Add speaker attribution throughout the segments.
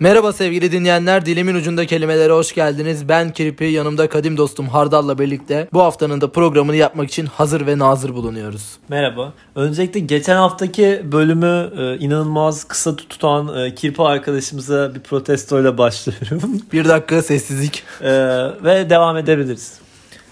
Speaker 1: Merhaba sevgili dinleyenler, dilimin ucunda kelimelere hoş geldiniz. Ben Kirpi, yanımda kadim dostum Hardal'la birlikte bu haftanın da programını yapmak için hazır ve nazır bulunuyoruz.
Speaker 2: Merhaba. Öncelikle geçen haftaki bölümü e, inanılmaz kısa tutan e, kirpi arkadaşımıza bir protestoyla başlıyorum.
Speaker 1: Bir dakika sessizlik.
Speaker 2: E, ve devam edebiliriz.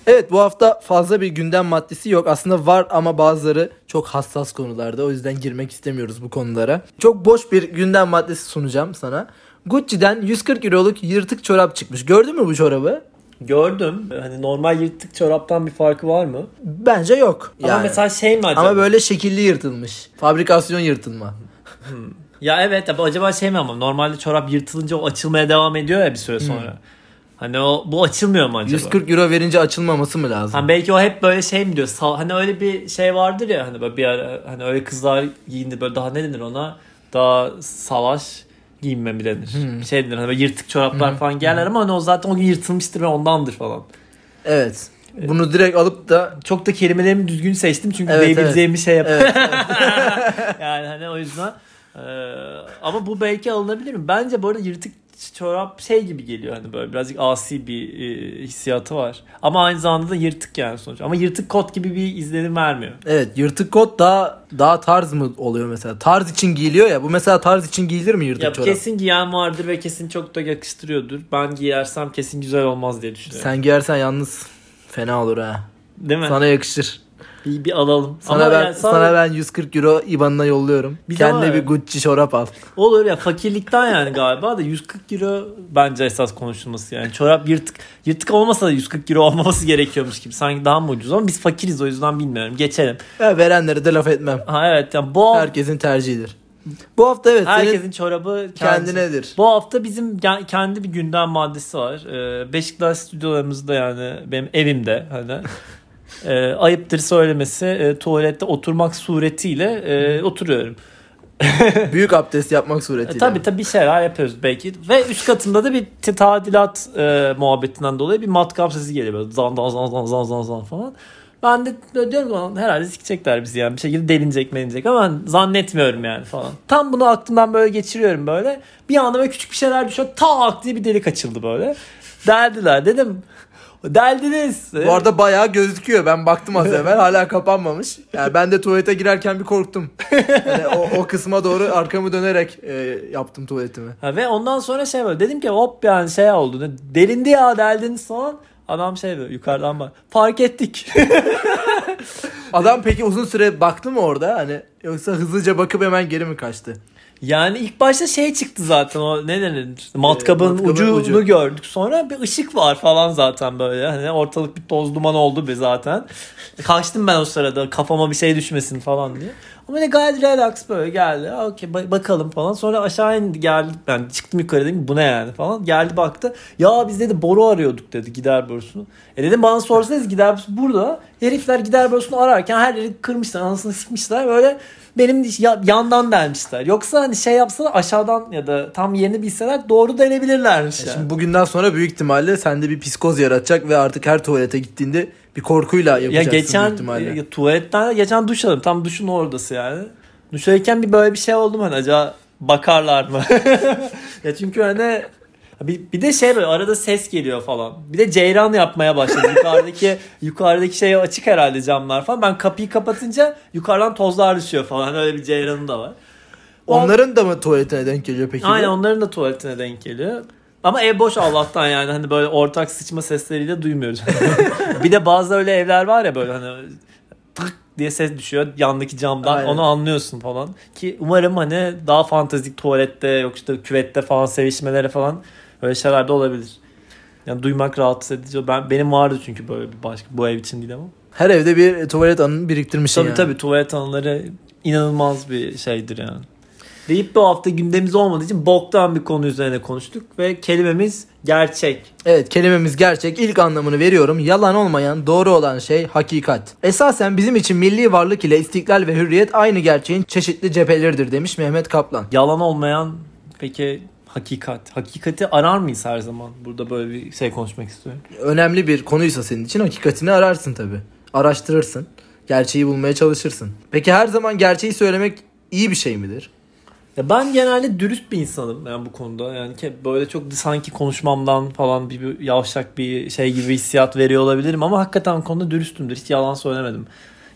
Speaker 1: Evet bu hafta fazla bir gündem maddesi yok. Aslında var ama bazıları çok hassas konularda. O yüzden girmek istemiyoruz bu konulara. Çok boş bir gündem maddesi sunacağım sana. Gucci'den 140 euroluk yırtık çorap çıkmış. Gördün mü bu çorabı?
Speaker 2: Gördüm. E, Hani normal yırtık çoraptan bir farkı var mı?
Speaker 1: Bence yok.
Speaker 2: Ama
Speaker 1: Yani.
Speaker 2: mesela şey mi acaba?
Speaker 1: ama böyle şekilli yırtılmış. Fabrikasyon yırtılma.
Speaker 2: Ya evet ama acaba şey mi ama normalde çorap yırtılınca o açılmaya devam ediyor ya bir
Speaker 1: Hmm.
Speaker 2: süre sonra. Hani o bu açılmıyor mu acaba?
Speaker 1: 140 euro verince açılmaması mı lazım?
Speaker 2: Hani belki o hep böyle şey mi diyor? sal- hani öyle bir şey vardır ya hani böyle bir ara hani öyle kızlar giyindi böyle daha ne denir ona? Daha salaş giyinme mi denir? Bir şey denir hani böyle yırtık çoraplar falan giyerler ama hani o zaten o gün yırtılmıştır ve ondandır falan.
Speaker 1: Evet. Bunu direkt alıp da
Speaker 2: Çok da kelimelerimi düzgün seçtim çünkü
Speaker 1: Evet,
Speaker 2: diyebileceğim bir şey yap.
Speaker 1: evet,
Speaker 2: yani hani o yüzden eee, ama bu belki alınabilir mi? Bence bu arada yırtık çorap şey gibi geliyor hani böyle birazcık asi bir eee, hissiyatı var. Ama aynı zamanda da yırtık yani sonuç. Ama yırtık kot gibi bir izlenim vermiyor.
Speaker 1: evet yırtık kot daha daha tarz mı oluyor mesela? Tarz için giyiliyor ya. Bu mesela tarz için giyilir mi yırtık
Speaker 2: Ya
Speaker 1: çorap?
Speaker 2: kesin giyen vardır ve kesin çok da yakıştırıyordur. Ben giyersem kesin güzel olmaz diye düşünüyorum.
Speaker 1: Sen giyersen yalnız fena olur ha.
Speaker 2: Değil mi?
Speaker 1: Sana yakışır.
Speaker 2: Bir, bir alalım.
Speaker 1: Sana
Speaker 2: Ama
Speaker 1: ben
Speaker 2: yani sana-
Speaker 1: sana ben 140 euro IBAN'ına yolluyorum.
Speaker 2: Bir
Speaker 1: Kendine
Speaker 2: daha-
Speaker 1: bir Gucci çorap al.
Speaker 2: Olur ya fakirlikten yani galiba da 140 euro bence esas konuşulması yani. Çorap yırtık yırtık olmasa da 140 euro olmaması gerekiyormuş gibi. Sanki daha mı ucuz ama biz fakiriz o yüzden bilmiyorum. Geçelim.
Speaker 1: Ya verenlere de laf etmem.
Speaker 2: Ha evet yani bu hafta
Speaker 1: Herkesin tercihidir. Bu hafta evet senin
Speaker 2: herkesin çorabı kendi-
Speaker 1: kendinedir.
Speaker 2: Bu hafta bizim ge- kendi bir gündem maddesi var. Ee, Beşiktaş stüdyolarımızda yani benim evimde hani e, ayıptır söylemesi e, tuvalette oturmak suretiyle e, oturuyorum.
Speaker 1: Büyük abdest yapmak
Speaker 2: E,
Speaker 1: suretiyle.
Speaker 2: tabii tabii bir şeyler yapıyoruz belki. Ve üst katımda da bir t- tadilat e, muhabbetinden dolayı bir matkap sesi geliyor. Böyle zan zan zan zan zan zan zan falan. Ben de böyle diyorum ki "Lan herhalde sikecekler bizi yani bir şekilde delinecek melinecek ama ben zannetmiyorum yani falan. Tam bunu aklımdan böyle geçiriyorum böyle. Bir anda böyle küçük bir şeyler düşüyor. Tak diye bir delik açıldı böyle. Deldiler dedim. Deldiniz.
Speaker 1: Bu arada bayağı gözüküyor. Ben baktım az evvel hala kapanmamış. Yani ben de tuvalete girerken bir korktum. Yani o, o kısma doğru arkamı dönerek e, yaptım tuvaletimi.
Speaker 2: Ha, ve ondan sonra şey böyle dedim ki hop yani şey oldu. Ne- Delindi ya deldiniz falan. Adam şey böyle yukarıdan bak. Fark ettik.
Speaker 1: Adam peki uzun süre baktı mı orada? Hani yoksa hızlıca bakıp hemen geri mi kaçtı?
Speaker 2: Yani ilk başta şey çıktı zaten o ne denir matkabın,
Speaker 1: Ee, matkabın
Speaker 2: ucunu
Speaker 1: ucu.
Speaker 2: gördük sonra bir ışık var falan zaten böyle hani ortalık bir toz duman oldu be zaten. Kaçtım ben o sırada kafama bir şey düşmesin falan diye. Ama ne gayet relax böyle geldi "Aa, okey ba- bakalım falan sonra aşağı indi geldi ben çıktım yukarı dedim ki, bu ne yani falan geldi baktı ya biz dedi boru arıyorduk dedi gider borusunu. E dedim bana sorsanız gider borusu burada herifler gider borusunu ararken her yeri kırmışlar anasını sıkmışlar böyle benim diş- ya- yandan delmişler. Yoksa hani şey yapsalar aşağıdan ya da tam yerini bilseler doğru delebilirlermiş. yani.
Speaker 1: E Şimdi bugünden sonra büyük ihtimalle sende bir psikoz yaratacak ve artık her tuvalete gittiğinde bir korkuyla
Speaker 2: ya
Speaker 1: yapacaksın büyük
Speaker 2: geçen
Speaker 1: ihtimalle.
Speaker 2: ya tuvaletten geçen duş aldım. Tam duşun oradası yani. Duşarken bir böyle bir şey oldu mu hani acaba bakarlar mı? ya çünkü hani bir, bir de şey böyle arada ses geliyor falan. Bir de ceyran yapmaya başladı. Yukarıdaki yukarıdaki şey açık herhalde camlar falan. Ben kapıyı kapatınca yukarıdan tozlar düşüyor falan. Öyle bir ceyranı da var. O-
Speaker 1: Onların da mı tuvaletine denk geliyor peki? bu?
Speaker 2: Aynen onların da tuvaletine denk geliyor. Ama ev boş Allah'tan yani hani böyle ortak sıçma sesleriyle duymuyoruz. bir de bazı öyle evler var ya böyle hani tık diye ses düşüyor yandaki camdan
Speaker 1: Aynen.
Speaker 2: onu anlıyorsun falan. Ki umarım hani daha fantezik tuvalette yok işte küvette falan sevişmelere falan öyle şeyler de olabilir. Yani duymak rahatsız edici. Ben benim vardı çünkü böyle bir başka bu ev için değil ama.
Speaker 1: Her evde bir tuvalet anını biriktirmişsin
Speaker 2: Tabii
Speaker 1: yani.
Speaker 2: tabii tuvalet anıları inanılmaz bir şeydir yani. Deyip bu hafta gündemimiz olmadığı için boktan bir konu üzerine konuştuk ve kelimemiz gerçek.
Speaker 1: Evet kelimemiz gerçek ilk anlamını veriyorum. Yalan olmayan doğru olan şey hakikat. Esasen bizim için milli varlık ile istiklal ve hürriyet aynı gerçeğin çeşitli cepheleridir demiş Mehmet Kaplan.
Speaker 2: Yalan olmayan peki hakikat. Hakikati arar mıyız her zaman? Burada böyle bir şey konuşmak istiyorum.
Speaker 1: Önemli bir konuysa senin için hakikatini ararsın tabi. Araştırırsın. Gerçeği bulmaya çalışırsın. Peki her zaman gerçeği söylemek iyi bir şey midir?
Speaker 2: Ya ben genelde dürüst bir insanım yani bu konuda. Yani ke- böyle çok sanki konuşmamdan falan bir, bir yavşak bir şey gibi hissiyat veriyor olabilirim ama hakikaten bu konuda dürüstümdür. Hiç yalan söylemedim.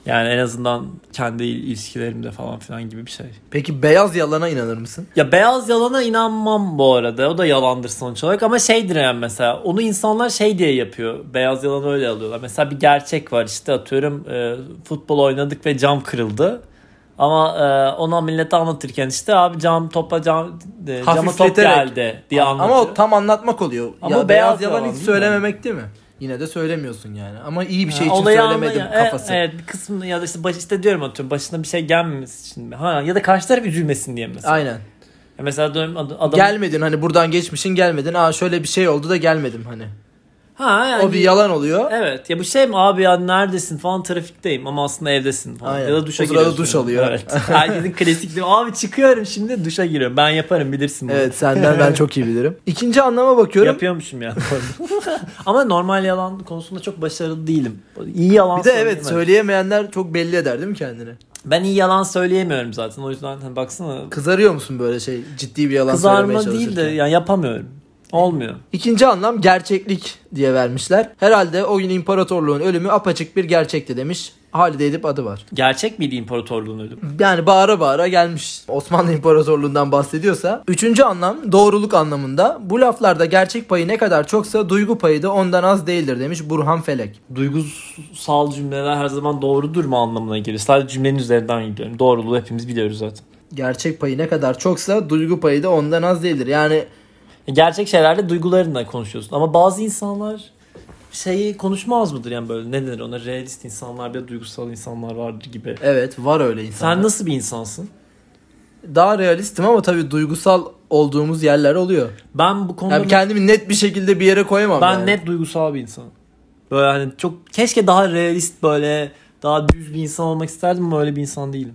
Speaker 2: Yani en azından kendi il- ilişkilerimde falan filan gibi bir şey.
Speaker 1: Peki beyaz yalana inanır mısın?
Speaker 2: Ya beyaz yalana inanmam bu arada. O da yalandır sonuç olarak ama şeydir yani mesela. Onu insanlar şey diye yapıyor. Beyaz yalanı öyle alıyorlar. Mesela bir gerçek var işte atıyorum e, futbol oynadık ve cam kırıldı. Ama e, ona millete anlatırken işte abi cam topa cam e, cama top
Speaker 1: Hafifleterek.
Speaker 2: geldi diye anlatıyor.
Speaker 1: Ama o tam anlatmak oluyor.
Speaker 2: Ama
Speaker 1: ya beyaz
Speaker 2: beyaz yalan
Speaker 1: yalan hiç
Speaker 2: değil mi?
Speaker 1: söylememek değil mi? Yine de söylemiyorsun yani. Ama iyi bir şey
Speaker 2: Ha,
Speaker 1: için
Speaker 2: olayı
Speaker 1: söylemedim
Speaker 2: anlayan- e,
Speaker 1: kafası.
Speaker 2: Evet, bir kısmını ya da işte baş, işte diyorum atıyorum başına bir şey gelmemesi için mi? Ha ya da karşı taraf üzülmesin diye mesela.
Speaker 1: Aynen.
Speaker 2: Ya Mesela diyorum ad- adam
Speaker 1: Gelmedin hani buradan geçmişin gelmedin. Aa şöyle bir şey oldu da gelmedim hani.
Speaker 2: ha yani
Speaker 1: O bir yalan oluyor.
Speaker 2: Evet ya bu şey mi abi ya neredesin falan trafikteyim ama aslında evdesin falan.
Speaker 1: Aynen.
Speaker 2: Ya da duşa
Speaker 1: O sırada
Speaker 2: giriyorsun.
Speaker 1: duş alıyor.
Speaker 2: Evet. Herkesin klasik değil mi? Abi çıkıyorum şimdi duşa giriyorum. Ben yaparım bilirsin bunu.
Speaker 1: Evet senden ben çok iyi bilirim. İkinci anlama bakıyorum.
Speaker 2: Yapıyormuşum yani. ama normal yalan konusunda çok başarılı değilim. İyi yalan
Speaker 1: bir de evet
Speaker 2: söyleyemem.
Speaker 1: söyleyemeyenler çok belli eder değil mi kendini?
Speaker 2: Ben iyi yalan söyleyemiyorum zaten. O yüzden hani baksana
Speaker 1: Kızarıyor musun böyle şey ciddi bir yalan söylemeye
Speaker 2: kızarma
Speaker 1: çalışırken?
Speaker 2: değil de yani yapamıyorum. Olmuyor.
Speaker 1: İkinci anlam gerçeklik diye vermişler. Herhalde o gün imparatorluğun ölümü apaçık bir gerçekti demiş. Halide Edip adı var.
Speaker 2: Gerçek miydi imparatorluğun ölümü?
Speaker 1: Yani bağıra bağıra gelmiş. Osmanlı İmparatorluğundan bahsediyorsa. Üçüncü anlam doğruluk anlamında. Bu laflarda gerçek payı ne kadar çoksa duygu payı da ondan az değildir demiş Burhan Felek.
Speaker 2: Duygusal cümleler her zaman doğrudur mu anlamına geliyor. Sadece cümlenin üzerinden gidiyorum. Doğruluğu hepimiz biliyoruz zaten.
Speaker 1: Gerçek payı ne kadar çoksa duygu payı da ondan az değildir. Yani
Speaker 2: Gerçek şeylerle duygularınla konuşuyorsun. Ama bazı insanlar şeyi konuşmaz mıdır yani böyle ne denir ona realist insanlar bir de duygusal insanlar vardır gibi.
Speaker 1: evet var öyle insanlar.
Speaker 2: Sen nasıl bir insansın?
Speaker 1: Daha realistim ama tabii duygusal olduğumuz yerler oluyor.
Speaker 2: Ben bu konuda
Speaker 1: Yani kendimi net bir şekilde bir yere koyamam.
Speaker 2: ben
Speaker 1: yani.
Speaker 2: net duygusal bir insanım. Böyle hani çok keşke daha realist böyle daha düz bir insan olmak isterdim ama öyle bir insan değilim.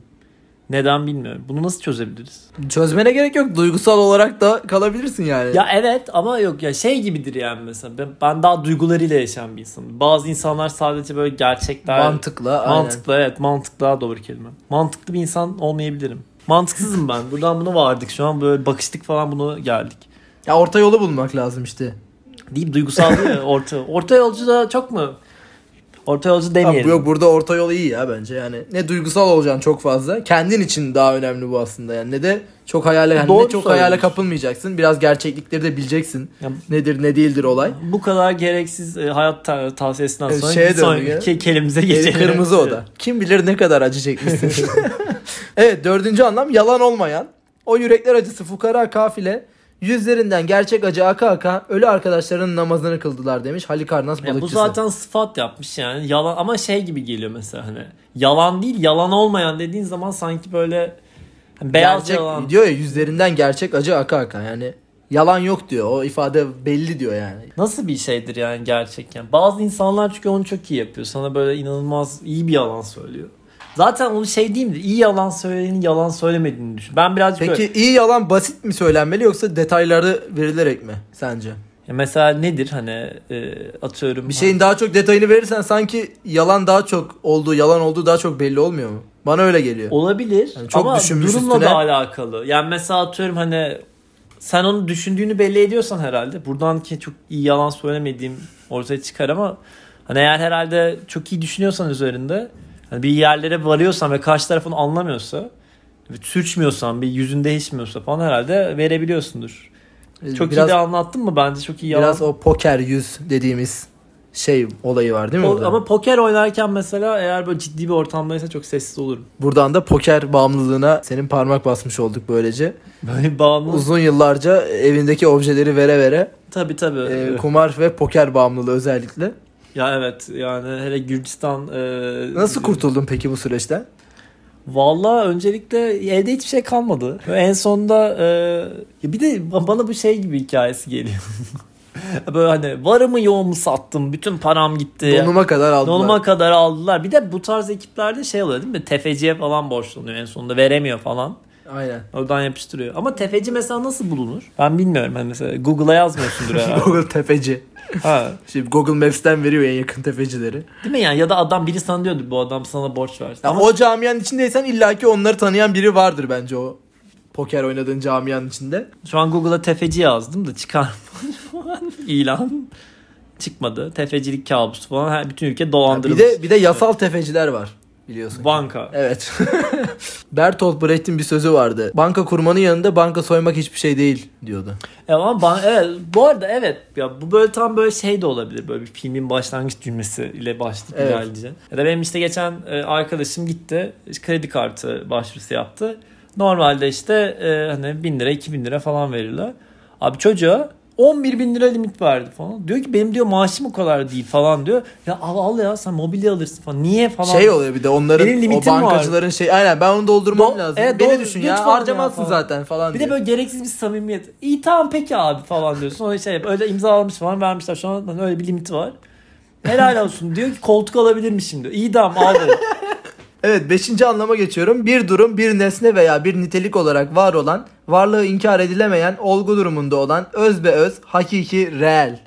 Speaker 2: Neden bilmiyorum. Bunu nasıl çözebiliriz?
Speaker 1: Çözmene gerek yok. Duygusal olarak da kalabilirsin yani.
Speaker 2: Ya evet ama yok ya şey gibidir yani mesela ben, ben daha duygularıyla yaşayan bir insanım. Bazı insanlar sadece böyle gerçekler
Speaker 1: Mantıkla. aynen.
Speaker 2: mantıklı evet mantık daha doğru kelime. Mantıklı bir insan olmayabilirim. Mantıksızım ben. Buradan buna vardık. Şu an böyle bakıştık falan buna geldik.
Speaker 1: Ya orta yolu bulmak lazım işte.
Speaker 2: Deyip duygusal değil mi? orta. Orta yolcu da çok mu? Orta yolcu
Speaker 1: Abi,
Speaker 2: demeyelim.
Speaker 1: yok burada orta yol iyi ya bence yani. Ne duygusal olacaksın çok fazla. Kendin için daha önemli bu aslında yani. Ne de çok hayale yani
Speaker 2: Doğru
Speaker 1: ne çok hayale
Speaker 2: söylüyorsun.
Speaker 1: kapılmayacaksın. Biraz gerçeklikleri de bileceksin.
Speaker 2: Ya-
Speaker 1: Nedir ne değildir olay.
Speaker 2: Bu kadar gereksiz e, hayat ta- tavsiyesinden
Speaker 1: Evet,
Speaker 2: sonra
Speaker 1: şeye
Speaker 2: bir sonraki
Speaker 1: döndük ya.
Speaker 2: ke- kelimize
Speaker 1: Eli
Speaker 2: geçelim.
Speaker 1: kırmızı o da. Kim bilir ne kadar acı çekmişsin. evet dördüncü anlam yalan olmayan. O yürekler acısı fukara kafile yüzlerinden gerçek acı aka aka ölü arkadaşlarının namazını kıldılar demiş Halikarnas
Speaker 2: Ya
Speaker 1: balıkçısı.
Speaker 2: bu zaten sıfat yapmış yani. Yalan ama şey gibi geliyor mesela hani. Yalan değil, yalan olmayan dediğin zaman sanki böyle hani beyaz
Speaker 1: gerçek
Speaker 2: yalan.
Speaker 1: diyor ya yüzlerinden gerçek acı aka aka yani yalan yok diyor o ifade belli diyor yani.
Speaker 2: Nasıl bir şeydir yani gerçekten? Bazı insanlar çünkü onu çok iyi yapıyor. Sana böyle inanılmaz iyi bir yalan söylüyor. Zaten onu şey diyeyim de iyi yalan söyleyenin yalan söylemediğini düşün. Ben birazcık öyle.
Speaker 1: Peki iyi yalan basit mi söylenmeli yoksa detayları verilerek mi sence?
Speaker 2: Ya mesela nedir hani e, atıyorum.
Speaker 1: Bir şey şeyin daha çok detayını verirsen sanki yalan daha çok olduğu yalan olduğu daha çok belli olmuyor mu? Bana öyle geliyor.
Speaker 2: Olabilir
Speaker 1: Yani çok
Speaker 2: ama
Speaker 1: düşünmüş
Speaker 2: durumla
Speaker 1: üstüne.
Speaker 2: da alakalı. Yani mesela atıyorum hani sen onu düşündüğünü belli ediyorsan herhalde buradan ki çok iyi yalan söylemediğim ortaya çıkar ama hani eğer herhalde çok iyi düşünüyorsan üzerinde hani bir yerlere varıyorsan ve karşı tarafın anlamıyorsa bir sürçmüyorsan bir yüzün değişmiyorsa falan herhalde verebiliyorsundur. Çok
Speaker 1: Ee, biraz,
Speaker 2: iyi de anlattın mı bence çok iyi yalan.
Speaker 1: Biraz o poker yüz dediğimiz şey olayı var değil mi?
Speaker 2: O-
Speaker 1: burada?
Speaker 2: ama poker oynarken mesela eğer böyle ciddi bir ortamdaysa çok sessiz olurum.
Speaker 1: Buradan da poker bağımlılığına senin parmak basmış olduk böylece.
Speaker 2: Böyle bağımlı.
Speaker 1: Uzun yıllarca evindeki objeleri vere vere
Speaker 2: tabii tabii.
Speaker 1: e, kumar ve poker bağımlılığı özellikle.
Speaker 2: Ya evet yani hele Gürcistan e,
Speaker 1: Nasıl kurtuldun peki bu süreçten?
Speaker 2: Valla öncelikle evde hiçbir şey kalmadı. Ve En sonunda e, ya bir de ba- bana bu şey gibi hikayesi geliyor. Böyle hani varımı yoğumu sattım. Bütün param gitti.
Speaker 1: Donuma kadar aldılar.
Speaker 2: E, Donuma kadar aldılar. Bir de bu tarz ekiplerde şey oluyor değil mi? Tefeciye falan borçlanıyor en sonunda. Veremiyor falan.
Speaker 1: Aynen.
Speaker 2: Oradan yapıştırıyor. Ama tefeci mesela nasıl bulunur? Ben bilmiyorum. Hani mesela Google'a yazmıyorsundur herhalde.
Speaker 1: Google tefeci.
Speaker 2: ha.
Speaker 1: Şimdi Google Maps'ten veriyor en yakın tefecileri.
Speaker 2: Değil mi yani? Ya da adam biri sana diyordu bu adam sana borç versin.
Speaker 1: Ya
Speaker 2: Ama
Speaker 1: O camianın içindeysen illaki onları tanıyan biri vardır bence o Poker oynadığın camianın içinde.
Speaker 2: Şu an Google'a tefeci yazdım da çıkar falan ilan çıkmadı. Tefecilik kabusu falan. Her, bütün ülke
Speaker 1: Yani bir
Speaker 2: dolandırılmış.
Speaker 1: de bir de yasal tefeciler var biliyorsun.
Speaker 2: Banka.
Speaker 1: Evet. Bertolt Brecht'in bir sözü vardı. Banka kurmanın yanında banka soymak hiçbir şey değil diyordu.
Speaker 2: E ama ban- evet, bu arada evet ya bu böyle tam böyle şey de olabilir böyle bir filmin başlangıç cümlesi ile başlayıp
Speaker 1: Evet.
Speaker 2: ilerleyeceksin. Ya da benim işte geçen e, arkadaşım gitti işte kredi kartı başvurusu yaptı. Normalde işte e, hani 1000 lira 2000 lira falan verirler. Abi çocuğa 11 bin lira limit verdi falan. Diyor ki benim diyor maaşım o kadar değil falan diyor. Ya al al ya sen mobilya alırsın falan. Niye falan.
Speaker 1: Şey oluyor bir de onların
Speaker 2: Benim
Speaker 1: o
Speaker 2: limitim var.
Speaker 1: bankacıların şey aynen ben onu doldurmam
Speaker 2: Do-
Speaker 1: lazım.
Speaker 2: evet,
Speaker 1: Beni
Speaker 2: doldur-
Speaker 1: düşün
Speaker 2: lütfen
Speaker 1: ya
Speaker 2: ya
Speaker 1: harcamazsın
Speaker 2: falan.
Speaker 1: zaten falan
Speaker 2: Bir
Speaker 1: diye.
Speaker 2: de böyle gereksiz bir samimiyet. İyi tamam peki abi falan diyorsun. Sonra şey yap- öyle imzalamış falan vermişler. Şu an hani öyle bir limiti var. Helal olsun. diyor ki koltuk alabilir miyim diyor. İyi tamam abi.
Speaker 1: Evet beşinci anlama geçiyorum. Bir durum bir nesne veya bir nitelik olarak var olan, varlığı inkar edilemeyen, olgu durumunda olan, öz be öz, hakiki, reel.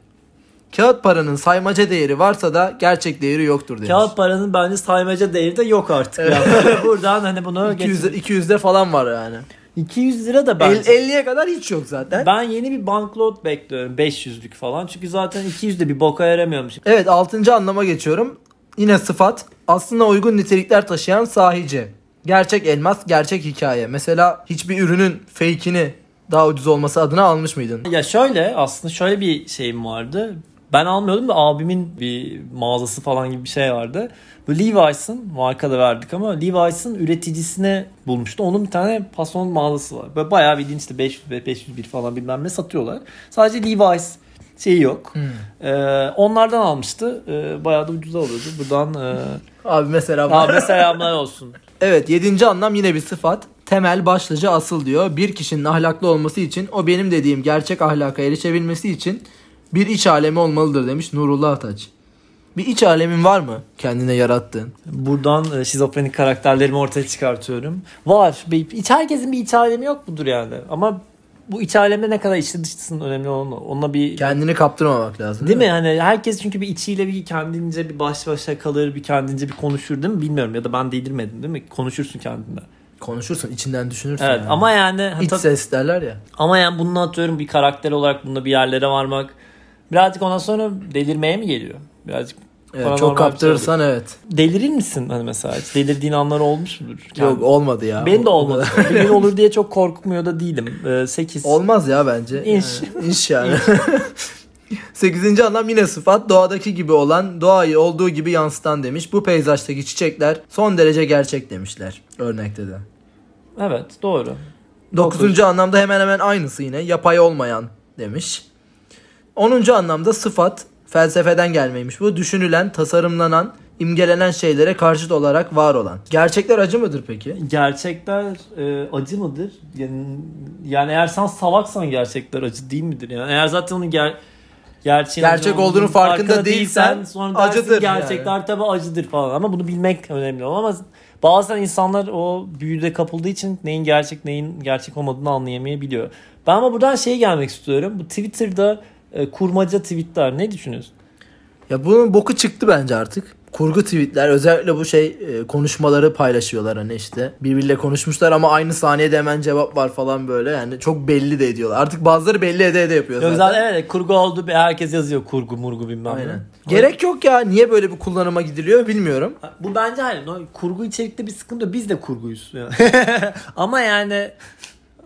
Speaker 1: Kağıt paranın saymaca değeri varsa da gerçek değeri yoktur demiş.
Speaker 2: Kağıt paranın bence saymaca değeri de yok artık. ya. Buradan hani bunu
Speaker 1: 200,
Speaker 2: geç.
Speaker 1: 200'de falan var yani.
Speaker 2: 200 lira da
Speaker 1: El-
Speaker 2: bence.
Speaker 1: 50'ye kadar hiç yok zaten.
Speaker 2: Ben yeni bir banknot bekliyorum 500'lük falan. Çünkü zaten 200 de bir boka yaramıyormuş.
Speaker 1: Evet altıncı anlama geçiyorum. Yine sıfat. Aslına uygun nitelikler taşıyan sahici. Gerçek elmas, gerçek hikaye. Mesela hiçbir ürünün fake'ini daha ucuz olması adına almış mıydın?
Speaker 2: Ya şöyle aslında şöyle bir şeyim vardı. Ben almıyordum da abimin bir mağazası falan gibi bir şey vardı. Bu Levi's'ın marka da verdik ama Levi's'ın üreticisine bulmuştu. Onun bir tane pason mağazası var. Böyle bayağı bildiğin işte 500 ve 501 falan bilmem ne satıyorlar. Sadece Levi's şeyi yok. Ee, onlardan almıştı. Ee, bayağı da ucuza alıyordu. Buradan e,
Speaker 1: Abi mesela bak.
Speaker 2: abi selamlar olsun.
Speaker 1: Evet yedinci anlam yine bir sıfat. Temel, başlıca, asıl diyor. Bir kişinin ahlaklı olması için o benim dediğim gerçek ahlaka erişebilmesi için bir iç alemi olmalıdır demiş Nurullah Ataç. Bir iç alemin var mı kendine yarattığın?
Speaker 2: Buradan e, şizofrenik karakterlerimi ortaya çıkartıyorum. Var. Bir, iç, herkesin bir iç alemi yok mudur yani? Ama bu iç aleme ne kadar içli dışlısın önemli olan o. Onunla bir...
Speaker 1: Kendini kaptırmamak lazım.
Speaker 2: değil mi? Hani herkes çünkü bir içiyle bir kendince bir baş başa kalır, bir kendince bir konuşur değil mi? Bilmiyorum ya da ben değdirmedim değil mi? Konuşursun kendinde.
Speaker 1: Konuşursun, içinden düşünürsün.
Speaker 2: Evet
Speaker 1: yani.
Speaker 2: ama yani... ha,
Speaker 1: iç
Speaker 2: tabii-
Speaker 1: ses derler ya.
Speaker 2: ama yani bunu atıyorum bir karakter olarak bunda bir yerlere varmak. Birazcık ondan sonra delirmeye mi geliyor? Birazcık
Speaker 1: Evet,
Speaker 2: paranormal
Speaker 1: çok
Speaker 2: bir şey
Speaker 1: kaptırırsan evet.
Speaker 2: oluyor. Delirir misin hani mesela? Hiç delirdiğin anlar olmuş mudur?
Speaker 1: Yok olmadı ya.
Speaker 2: Benim de
Speaker 1: O-
Speaker 2: olmadı. Benim olur diye çok korkmuyor da değilim. Ee, 8.
Speaker 1: Olmaz ya bence.
Speaker 2: İnş.
Speaker 1: Yani, iş yani. Sekizinci anlam yine sıfat doğadaki gibi olan doğayı olduğu gibi yansıtan demiş. Bu peyzajdaki çiçekler son derece gerçek demişler örnekte de.
Speaker 2: Evet doğru.
Speaker 1: Dokuzuncu anlamda hemen hemen aynısı yine yapay olmayan demiş. Onuncu anlamda sıfat felsefeden gelmeymiş bu. Düşünülen, tasarımlanan, imgelenen şeylere karşıt olarak var olan. Gerçekler acı mıdır peki?
Speaker 2: Gerçekler e, acı mıdır? Yani, yani eğer sen salaksan gerçekler acı değil midir? Yani eğer zaten onun ger gerçeğin acı
Speaker 1: Gerçek
Speaker 2: olduğunun
Speaker 1: olduğunu farkında değilsen
Speaker 2: sonra dersin
Speaker 1: acıdır
Speaker 2: gerçekler tabii acıdır falan ama bunu bilmek önemli olan ama bazen insanlar o büyüde kapıldığı için neyin gerçek neyin gerçek olmadığını anlayamayabiliyor. Ben ama buradan şeye gelmek istiyorum. Bu Twitter'da e, kurmaca tweetler ne düşünüyorsun?
Speaker 1: Ya bunun boku çıktı bence artık. Kurgu tweetler özellikle bu şey e, konuşmaları paylaşıyorlar hani işte. Birbiriyle konuşmuşlar ama aynı saniyede hemen cevap var falan böyle. Yani çok belli de ediyorlar. Artık bazıları belli ede ede yapıyor
Speaker 2: Yok
Speaker 1: zaten.
Speaker 2: zaten evet kurgu oldu. Herkes yazıyor kurgu murgu bilmem
Speaker 1: Aynen.
Speaker 2: ne.
Speaker 1: Gerek yok ya. Niye böyle bir kullanıma gidiliyor bilmiyorum.
Speaker 2: Bu bence hayır. no- Kurgu içerikte bir sıkıntı yok. Biz de kurguyuz. Yani. Ama yani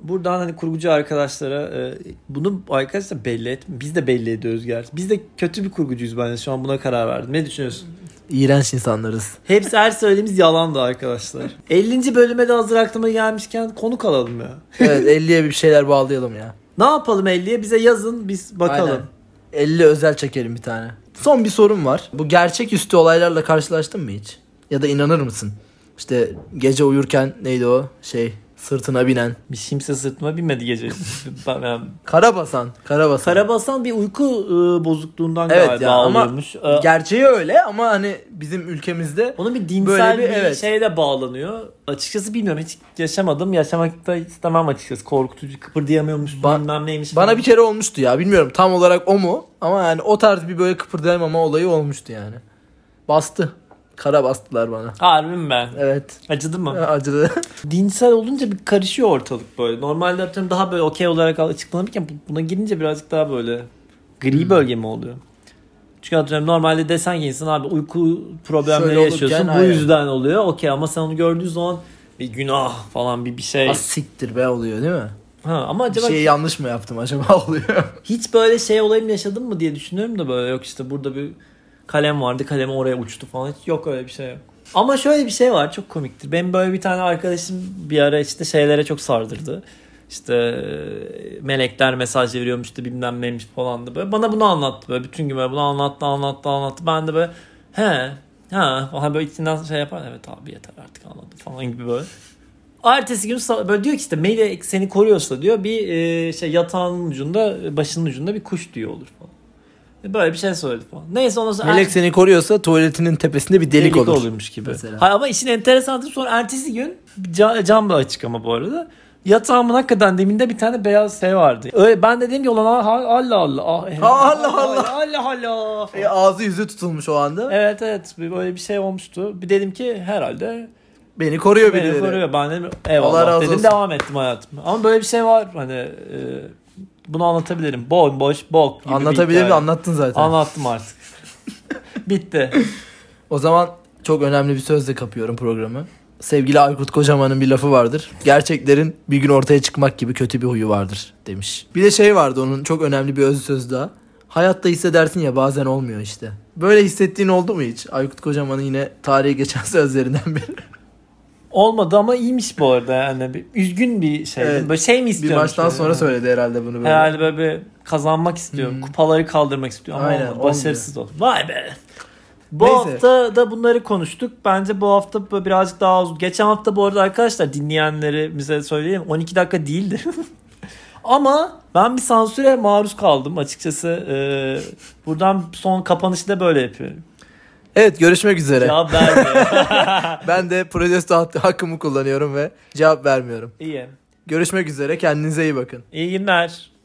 Speaker 2: buradan hani kurgucu arkadaşlara e, bunu arkadaşlar belli et. Biz de belli ediyoruz gerçi. Biz de kötü bir kurgucuyuz bence. Şu an buna karar verdim. Ne düşünüyorsun?
Speaker 1: İğrenç insanlarız.
Speaker 2: Hepsi her söylediğimiz yalandı arkadaşlar. 50. bölüme de hazır aklıma gelmişken konuk alalım ya.
Speaker 1: Evet 50'ye bir şeyler bağlayalım ya.
Speaker 2: Ne yapalım 50'ye? Bize yazın biz bakalım.
Speaker 1: Aynen. 50 özel çekelim bir tane. Son bir sorum var. Bu gerçeküstü olaylarla karşılaştın mı hiç? Ya da inanır mısın? İşte gece uyurken neydi o şey sırtına binen.
Speaker 2: Bir kimse sırtıma binmedi gece. ben, ben
Speaker 1: Karabasan. Karabasan.
Speaker 2: Karabasan bir uyku e, bozukluğundan
Speaker 1: Evet
Speaker 2: galiba
Speaker 1: ya, ama
Speaker 2: alıyormuş. E,
Speaker 1: Gerçeği öyle ama hani bizim ülkemizde
Speaker 2: onun bir dinsel
Speaker 1: Böyle
Speaker 2: bir,
Speaker 1: bir- evet.
Speaker 2: şeyle bağlanıyor. Açıkçası bilmiyorum hiç yaşamadım. Yaşamak da istemem açıkçası. Korkutucu kıpırdayamıyormuş
Speaker 1: Ba-
Speaker 2: bilmem neymiş.
Speaker 1: bana
Speaker 2: falan.
Speaker 1: bir kere olmuştu ya. Bilmiyorum tam olarak o mu ama yani o tarz bir böyle kıpırdayamama olayı olmuştu yani. Bastı. Kara bastılar bana.
Speaker 2: Harbi mi ben?
Speaker 1: Evet.
Speaker 2: Acıdı mı?
Speaker 1: Acıdı.
Speaker 2: Dinsel olunca bir karışıyor ortalık böyle. Normalde atıyorum daha böyle okey olarak açıklanırken bu- buna girince birazcık daha böyle gri
Speaker 1: Hmm.
Speaker 2: bölge mi oluyor? Çünkü atıyorum normalde desen ki insan abi uyku problemleri
Speaker 1: Şöyle olurken,
Speaker 2: yaşıyorsun. Bu
Speaker 1: aynen.
Speaker 2: yüzden oluyor. Okey ama sen onu gördüğün zaman bir günah falan bir bir şey.
Speaker 1: Az siktir be oluyor değil mi?
Speaker 2: Ha, ama
Speaker 1: Bir
Speaker 2: acaba
Speaker 1: şey yanlış mı yaptım acaba oluyor?
Speaker 2: hiç böyle şey olayım yaşadın mı diye düşünüyorum da böyle yok işte burada bir kalem vardı kalem oraya uçtu falan. Hiç yok öyle bir şey yok. Ama şöyle bir şey var çok komiktir. Benim böyle bir tane arkadaşım bir ara işte şeylere çok sardırdı. İşte e, melekler mesaj veriyormuş işte bilmem neymiş falan da böyle. Bana bunu anlattı böyle bütün gün böyle bunu anlattı anlattı anlattı. Ben de böyle he ha falan böyle içinden şey yapar. Evet abi yeter artık anladım falan gibi böyle. Ertesi gün sa- böyle diyor ki işte melek seni koruyorsa diyor bir e, şey yatağın ucunda başının ucunda bir kuş diyor olur falan. E, Böyle bir şey söyledi falan. Neyse ondan sonra
Speaker 1: Melek seni koruyorsa tuvaletinin tepesinde bir delik, olur.
Speaker 2: olurmuş gibi.
Speaker 1: Mesela.
Speaker 2: Hayır ama işin enteresanı sonra ertesi gün ca- cam da açık ama bu arada. Yatağımın hakikaten deminde bir tane beyaz şey vardı. Öyle ben de dedim ki ulan ha- Allah Allah. ah, eh,
Speaker 1: Allah Allah.
Speaker 2: Allah Allah.
Speaker 1: E, ağzı yüzü tutulmuş o anda.
Speaker 2: Evet evet bir- böyle bir şey olmuştu. Bir dedim ki herhalde
Speaker 1: Beni koruyor birileri.
Speaker 2: beni koruyor. Ben dedim eyvallah
Speaker 1: Allah razı
Speaker 2: dedim
Speaker 1: olsun.
Speaker 2: devam ettim hayatım. Ama böyle bir şey var hani e, bunu anlatabilirim. Boy boş bok gibi bir
Speaker 1: Anlatabilir mi?
Speaker 2: hikaye.
Speaker 1: Anlattın zaten.
Speaker 2: Anlattım artık. Bitti.
Speaker 1: O zaman çok önemli bir sözle kapıyorum programı. Sevgili Aykut Kocaman'ın bir lafı vardır. Gerçeklerin bir gün ortaya çıkmak gibi kötü bir huyu vardır demiş. Bir de şey vardı onun çok önemli bir öz söz daha. Hayatta hissedersin ya bazen olmuyor işte. Böyle hissettiğin oldu mu hiç? Aykut Kocaman'ın yine tarihe geçen sözlerinden biri.
Speaker 2: Olmadı ama iyiymiş bu arada yani. Bir, üzgün bir şey.
Speaker 1: Evet.
Speaker 2: Böyle şey mi
Speaker 1: bir
Speaker 2: istiyormuş?
Speaker 1: maçtan
Speaker 2: böyle?
Speaker 1: sonra söyledi herhalde bunu böyle.
Speaker 2: Herhalde böyle bir kazanmak istiyor.
Speaker 1: Hı.
Speaker 2: Kupaları kaldırmak istiyor ama
Speaker 1: Aynen,
Speaker 2: olmadı. başarısız oldu. Vay be. Bu
Speaker 1: Neyse.
Speaker 2: hafta da bunları konuştuk. Bence bu hafta böyle birazcık daha uzun. Geçen hafta bu arada arkadaşlar dinleyenlerimize söyleyeyim 12 dakika değildi. ama ben bir sansüre maruz kaldım açıkçası. Ee, buradan son kapanışı da böyle yapıyorum.
Speaker 1: Evet görüşmek üzere.
Speaker 2: Cevap vermiyor.
Speaker 1: Ben de protesto hak- hakkımı kullanıyorum ve cevap vermiyorum.
Speaker 2: iyi.
Speaker 1: Görüşmek üzere kendinize iyi bakın.
Speaker 2: İyi günler.